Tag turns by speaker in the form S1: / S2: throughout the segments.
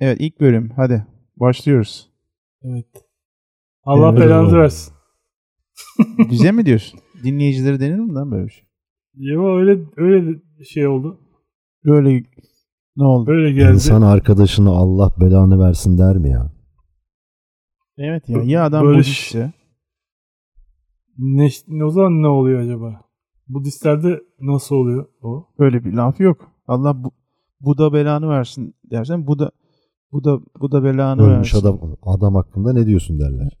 S1: Evet ilk bölüm hadi başlıyoruz.
S2: Evet. Allah
S3: Evet,
S2: belanızı
S3: oğlum.
S2: versin.
S1: Bize mi diyorsun? Dinleyicilere denir mi lan böyle bir şey?
S2: Yo öyle öyle şey oldu.
S1: Böyle ne oldu?
S2: Böyle geldi.
S3: İnsan arkadaşına Allah belanı versin der mi ya?
S1: Evet ya ya adam
S2: Böyle
S1: Budist
S2: ş-
S1: ya.
S2: Ne, ne- o zaman ne oluyor acaba? Budistlerde nasıl oluyor o?
S1: Böyle bir laf yok. Allah bu, Buda belanı versin dersen Buda Buda Buda belanı
S3: Ölmüş
S1: versin.
S3: adam adam hakkında ne diyorsun derler.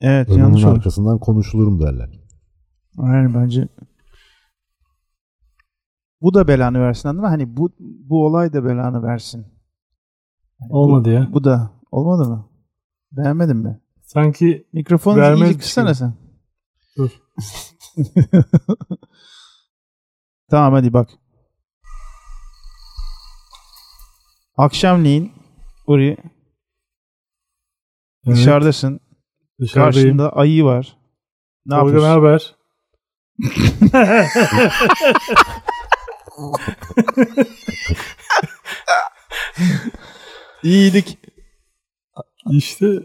S1: Evet
S3: Ölümün
S1: yanlış olur.
S3: arkasından konuşulurum derler.
S1: Hayır bence bu da belanı versin anladın mı? Hani bu bu olay da belanı versin. Hani bu-
S2: Olmadı ya.
S1: Bu da olmadı mı? Beğenmedin mi?
S2: Sanki
S1: Mikrofonu
S2: Vermezmiş
S1: iyice kıssana
S2: gibi.
S1: sen.
S2: Dur.
S1: tamam hadi bak. Akşamleyin Uri
S2: evet,
S1: dışarıdasın.
S2: dışarıdayım.
S1: Karşında ayı var. Ne
S2: Tolga ne
S1: yapıyorsun?
S2: haber?
S1: İyilik.
S2: İşte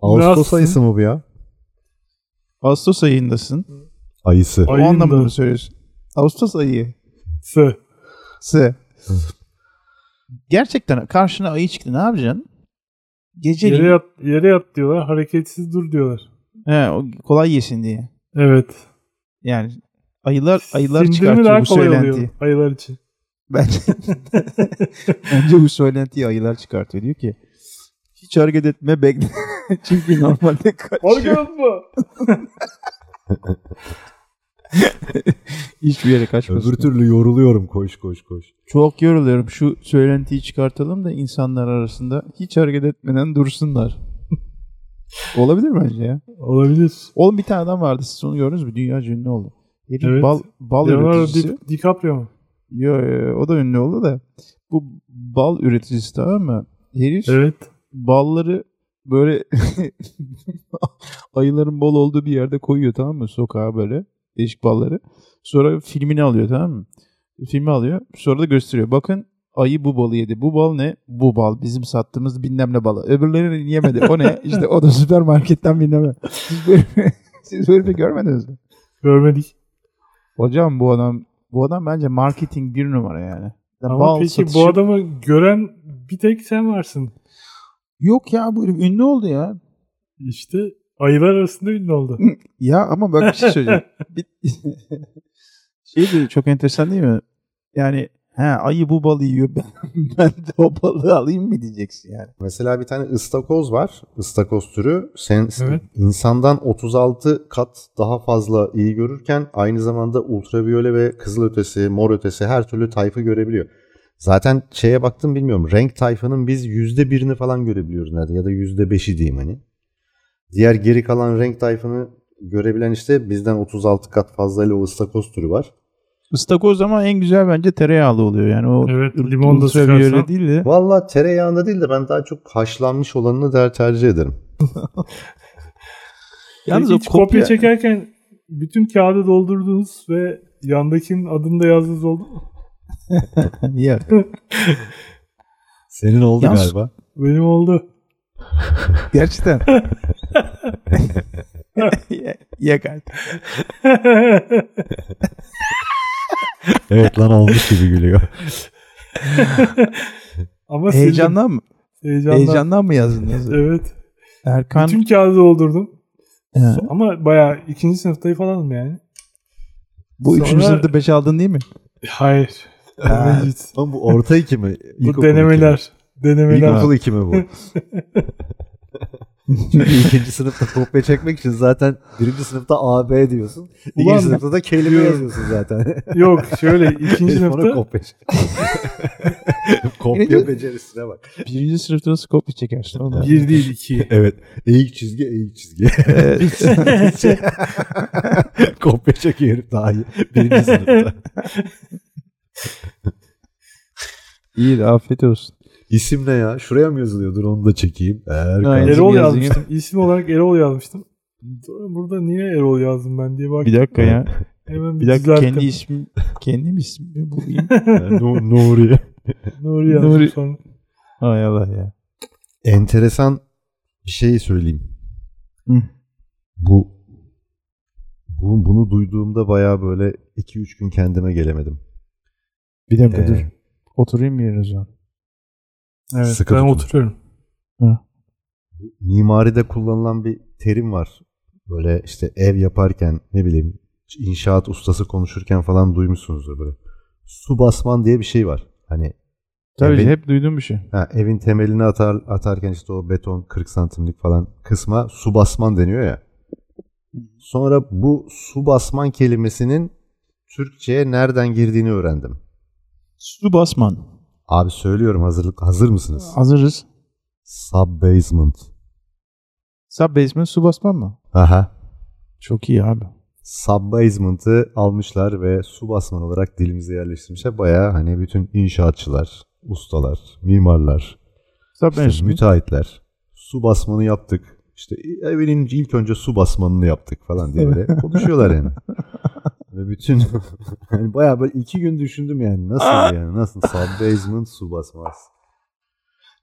S3: Ağustos
S2: Nasılsın?
S3: ayısı mı bu ya?
S1: Ağustos ayındasın.
S3: Ayısı.
S1: O
S2: Ayında.
S1: anlamda mı söylüyorsun? Ağustos ayı.
S2: sı.
S1: S. Gerçekten karşına ayı çıktı. Ne yapacaksın?
S2: Yere
S1: Geceliğin.
S2: yat, yere yat diyorlar. Hareketsiz dur diyorlar.
S1: He, o kolay yesin diye.
S2: Evet.
S1: Yani ayılar ayılar
S2: Sindirimi
S1: çıkartıyor
S2: daha
S1: bu
S2: kolay oluyor
S1: söylentiyi.
S2: ayılar için.
S1: Bence, bence bu söylentiyi ayılar çıkartıyor. Diyor ki hiç hareket etme bekle. Çünkü normalde kaçıyor.
S2: Organ mı?
S1: Hiçbir yere kaçmasın.
S3: Öbür türlü yoruluyorum koş koş koş.
S1: Çok yoruluyorum. Şu söylentiyi çıkartalım da insanlar arasında hiç hareket etmeden dursunlar. Olabilir bence ya.
S2: Olabilir.
S1: Oğlum bir tane adam vardı. Siz onu gördünüz mü? Dünya ünlü oldu. Herif
S2: Evet.
S1: bal, bal
S2: Leonardo
S1: üreticisi.
S2: Di- DiCaprio mu?
S1: Yo, yo, o da ünlü oldu da. Bu bal üreticisi tamam mı? Herif
S2: Evet.
S1: balları böyle ayıların bol olduğu bir yerde koyuyor tamam mı? Sokağa böyle değişik balları. Sonra filmini alıyor tamam mı? Filmi alıyor. Sonra da gösteriyor. Bakın ayı bu balı yedi. Bu bal ne? Bu bal. Bizim sattığımız bilmem ne balı. Öbürleri yemedi. O ne? İşte o da süpermarketten bilmem ne. Siz böyle, siz böyle bir görmediniz mi?
S2: Görmedik.
S1: Hocam bu adam bu adam bence marketing bir numara yani.
S2: Ama
S1: bal
S2: peki
S1: satışı-
S2: bu adamı gören bir tek sen varsın.
S1: Yok ya bu herif ünlü oldu ya.
S2: İşte ayılar arasında ünlü oldu.
S1: Ya ama bak bir şey söyleyeceğim. Bir... şey de çok enteresan değil mi? Yani he ayı bu balı yiyor ben, ben de o balığı alayım mı diyeceksin yani.
S3: Mesela bir tane ıstakoz var. İstakoz türü sen
S2: Evet.
S3: insandan 36 kat daha fazla iyi görürken aynı zamanda ultraviyole ve kızılötesi, mor ötesi her türlü tayfı görebiliyor. Zaten şeye baktım bilmiyorum. Renk tayfının biz yüzde birini falan görebiliyoruz nerede ya da yüzde beşi diyeyim hani. Diğer geri kalan renk tayfını görebilen işte bizden 36 kat fazlayla o ıstakoz türü var.
S1: Istakoz ama en güzel bence tereyağlı oluyor. Yani o
S2: Evet, limon da
S1: ultraviyole
S2: sıkarsan.
S1: değil de.
S3: Valla tereyağında değil de ben daha çok haşlanmış olanını der tercih ederim.
S1: Yalnız o
S2: E, Hiç kopya...
S1: kopya
S2: çekerken bütün kağıdı doldurdunuz ve yandakinin adını da yazdınız oldu mu?
S1: Ya,
S3: Senin oldu
S1: Yalnız-
S3: galiba.
S2: Benim oldu.
S1: Gerçekten. ya, ya kardeşim.
S3: Evet lan olmuş gibi gülüyor.
S2: Ama sildim.
S1: Heyecandan mı?
S2: Heyecandan.
S1: Heyecandan mı yazdınız?
S2: Evet.
S1: Erkan
S2: Bütün kağıdı doldurdum.
S1: He.
S2: Ama bayağı ikinci sınıftayı falanım yani.
S1: bu
S2: Sonra-
S1: üçüncü sınıfta beş aldın değil mi?
S2: E, Hayır.
S1: Ha,
S2: Mecit.
S3: Lan bu orta iki mi?
S2: Bu
S3: İlkokul iki mi?
S2: denemeler. Denemeler.
S3: İlkokul iki mi bu? Çünkü ikinci sınıfta kopya çekmek için zaten birinci sınıfta AB diyorsun. İkinci
S2: Ulan-
S3: sınıfta da kelime
S2: Diyorum.
S3: yazıyorsun zaten.
S2: Yok şöyle ikinci
S3: Herif ona
S2: sınıfta
S3: kopya çek- kopya
S1: Yine-
S3: becerisine bak.
S1: Birinci sınıfta nasıl kopya çekersin oğlum?
S2: bir değil iki.
S3: Evet. Eğik çizgi eğik çizgi.
S1: Evet.
S3: kopya çekiyor herif daha iyi. Birinci sınıfta.
S1: İyi de afiyet olsun.
S3: İsim ne ya? Şuraya mı yazılıyor? Dur onu da çekeyim. Erkan.
S1: Aynen.
S2: Erol
S1: Yazayım.
S2: yazmıştım. İsim olarak Erol yazmıştım. Sonra Burada niye Erol yazdım ben diye bak.
S1: Bir dakika ya.
S2: Hemen
S1: Bir dakika
S2: düzelttim.
S1: kendi ismi kendim ismi bulayım. Nu- Nuriye.
S2: Nuri yazdım
S1: Nuri-
S2: sonra.
S1: Ay Allah ya.
S3: Enteresan bir şey söyleyeyim.
S1: Hı.
S3: Bu, bu bunu duyduğumda bayağı böyle 2-3 gün kendime gelemedim.
S1: Bir dakika
S3: Ee,
S1: dur. Oturayım bir yere o zaman.
S2: Evet
S3: Sıkı
S2: ben
S3: tutun.
S2: oturuyorum.
S3: mimaride kullanılan bir terim var. Böyle işte ev yaparken ne bileyim inşaat ustası konuşurken falan duymuşsunuzdur böyle. Su basman diye bir şey var. Hani
S1: Tabii
S3: evin,
S1: hep duyduğum bir şey.
S3: ha, evin temelini atar, atarken işte o beton 40 santimlik falan kısma su basman deniyor ya. Sonra bu su basman kelimesinin Türkçe'ye nereden girdiğini öğrendim.
S1: Su basman.
S3: Abi söylüyorum hazırlık hazır mısınız?
S1: Hazırız.
S3: Sub basement.
S1: Sub basement su basman mı?
S3: Aha.
S1: Çok iyi abi.
S3: subbasement'ı almışlar ve su basman olarak dilimize yerleştirmişler. Bayağı hani bütün inşaatçılar, ustalar, mimarlar,
S1: Sub
S3: işte
S1: basement.
S3: müteahhitler su basmanı yaptık. İşte evinin ilk önce su basmanını yaptık falan diye böyle konuşuyorlar yani. ve bütün yani bayağı böyle iki gün düşündüm yani
S1: Ah!
S3: nasıl yani nasıl subbasement su basmaz.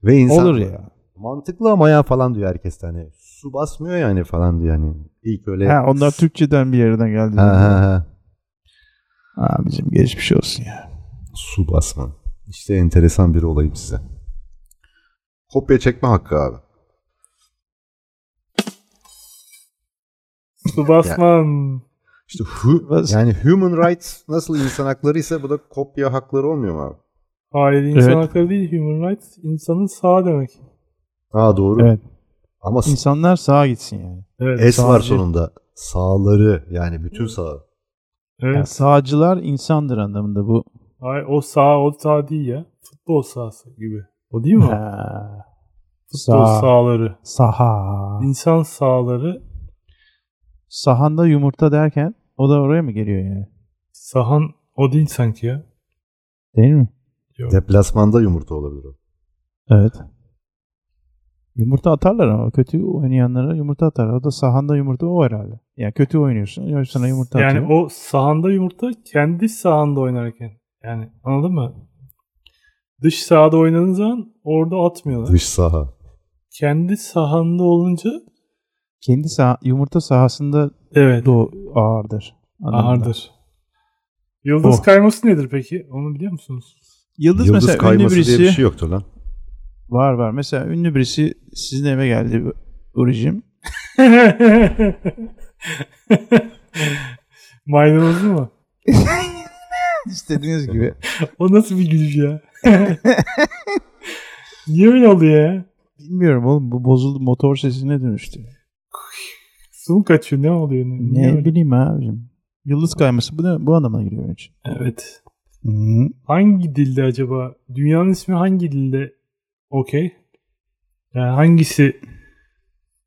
S3: Ve insan
S1: Olur ya.
S3: mantıklı ama ya falan diyor herkes de hani su basmıyor yani falan diyor yani. İlk öyle
S1: Ha, onlar Türkçeden bir yerden geldi.
S3: ha, ha, ha.
S1: Abicim geçmiş olsun ya.
S3: Su basman. İşte enteresan bir olayım size. Kopya çekme hakkı abi.
S2: Su basman.
S3: İşte hu,
S1: Bas-
S3: yani human rights nasıl insan hakları ise bu da kopya hakları olmuyor mu abi?
S2: Hayır insan
S1: Evet.
S2: hakları değil. Human rights insanın sağ demek.
S3: Aa doğru.
S1: Evet.
S3: Ama s-
S1: İnsanlar sağa gitsin yani.
S2: Evet.
S3: S var
S1: sadece-
S3: sonunda. Sağları yani bütün sağ.
S2: evet.
S1: Yani sağcılar insandır anlamında bu.
S2: Hayır, o sağ o sağ değil ya. Futbol sahası gibi. O değil mi? o?
S1: Ha.
S2: Futbol
S1: Sağ.
S2: sahaları.
S1: Saha.
S2: İnsan sahaları.
S1: Sahanda yumurta derken o da oraya mı geliyor yani?
S2: Sahan o değil sanki ya.
S1: Değil mi?
S2: Yok.
S3: Deplasmanda yumurta olabilir o.
S1: Evet. Yumurta atarlar ama kötü oynayanlara yumurta atarlar. O da sahanda yumurta o herhalde. Yani kötü oynuyorsun. ya Sana yumurta
S2: yani
S1: atıyor.
S2: o sahanda yumurta kendi sahanda oynarken. Yani anladın mı? Dış sahada oynadığın zaman orada atmıyorlar.
S3: Dış saha.
S2: Kendi sahanda olunca
S1: Kendi sah- yumurta sahasında
S2: evet
S1: do ağırdır. anlamında.
S2: ağırdır. Yıldız
S1: Oh.
S2: kayması nedir peki? Onu biliyor musunuz?
S1: Yıldız,
S3: Yıldız
S1: mesela ünlü
S3: kayması
S1: birisi.
S3: diye bir şey yoktur lan.
S1: Var var. Mesela ünlü birisi sizin eve geldi Urucim.
S2: Maydanozlu mu?
S1: İstediğiniz gibi.
S2: O nasıl bir gülüş ya? Niye öyle oluyor ya?
S1: Bilmiyorum oğlum bu bozuldu motor sesine dönüştü.
S2: Su mu kaçıyor? Ne oluyor? Niye
S1: Ne
S2: öyle?
S1: bileyim abicim. Yıldız kayması bu, ne- bu anlamına geliyor onun için.
S2: Evet. Hangi dilde acaba? Dünyanın ismi hangi dilde? Okey. Yani hangisi?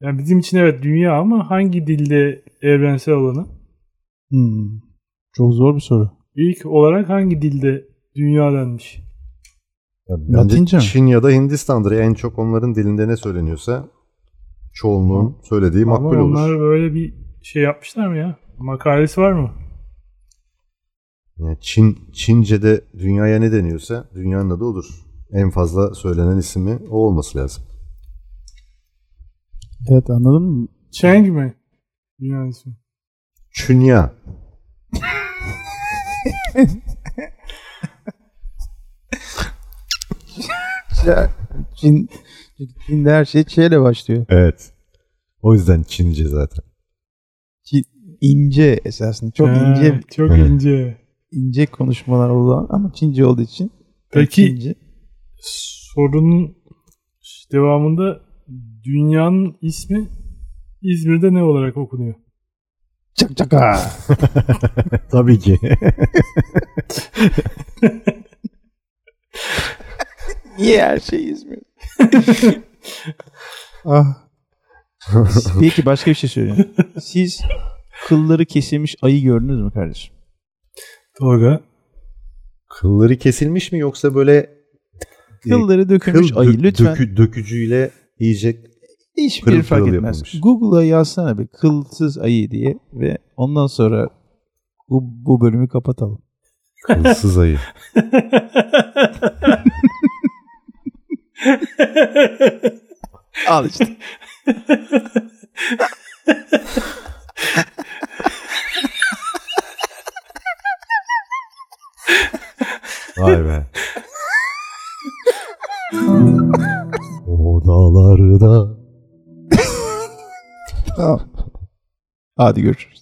S2: Yani bizim için evet dünya ama hangi dilde evrensel olanı?
S1: Hmm. Çok zor bir soru.
S2: İlk olarak hangi dilde dünya denmiş?
S3: Ya bence
S1: Latince mi?
S3: Çin ya da Hindistan'dır. En çok onların dilinde ne söyleniyorsa çoğunluğun söylediği
S2: Ama
S3: makbul
S2: onlar
S3: olur.
S2: böyle bir şey yapmışlar mı ya? Makalesi var mı?
S3: Yani Çin, Çince'de dünyaya ne deniyorsa dünyanın adı odur. En fazla söylenen ismi o olması lazım.
S1: Evet anladın mı?
S2: Cheng mi? Dünyanın ismi.
S3: Çünya.
S1: Çin, Çin'de her şey şeyle başlıyor.
S3: Evet. O yüzden Çince zaten.
S1: İnce esasında. Çok
S2: Ha,
S1: ince
S2: Çok
S3: Evet.
S2: ince.
S1: ince konuşmalar olan ama Çince olduğu için.
S2: Peki-
S1: Çince.
S2: sorunun devamında dünyanın ismi İzmir'de ne olarak okunuyor?
S1: Çak çaka.
S3: Tabii ki.
S1: Niye her şey İzmir? ah. Peki başka bir şey söyleyeyim. Siz kılları kesilmiş ayı gördünüz mü kardeşim?
S2: Tolga.
S3: Kılları kesilmiş mi yoksa böyle e,
S1: Kılları dökülmüş
S3: kıl
S1: ayı
S3: dök-
S1: lütfen.
S3: dökü- dökücüyle yiyecek
S1: Hiçbir
S3: pırıl
S1: fark
S3: pırıl
S1: etmez.
S3: yapılmış.
S1: Google'a yazsana bir kılsız ayı diye ve ondan sonra Bu, bu bölümü kapatalım.
S3: Kılsız ayı.
S1: Al işte.
S3: Vay be. Odalarda
S1: Tamam. Hadi görüşürüz.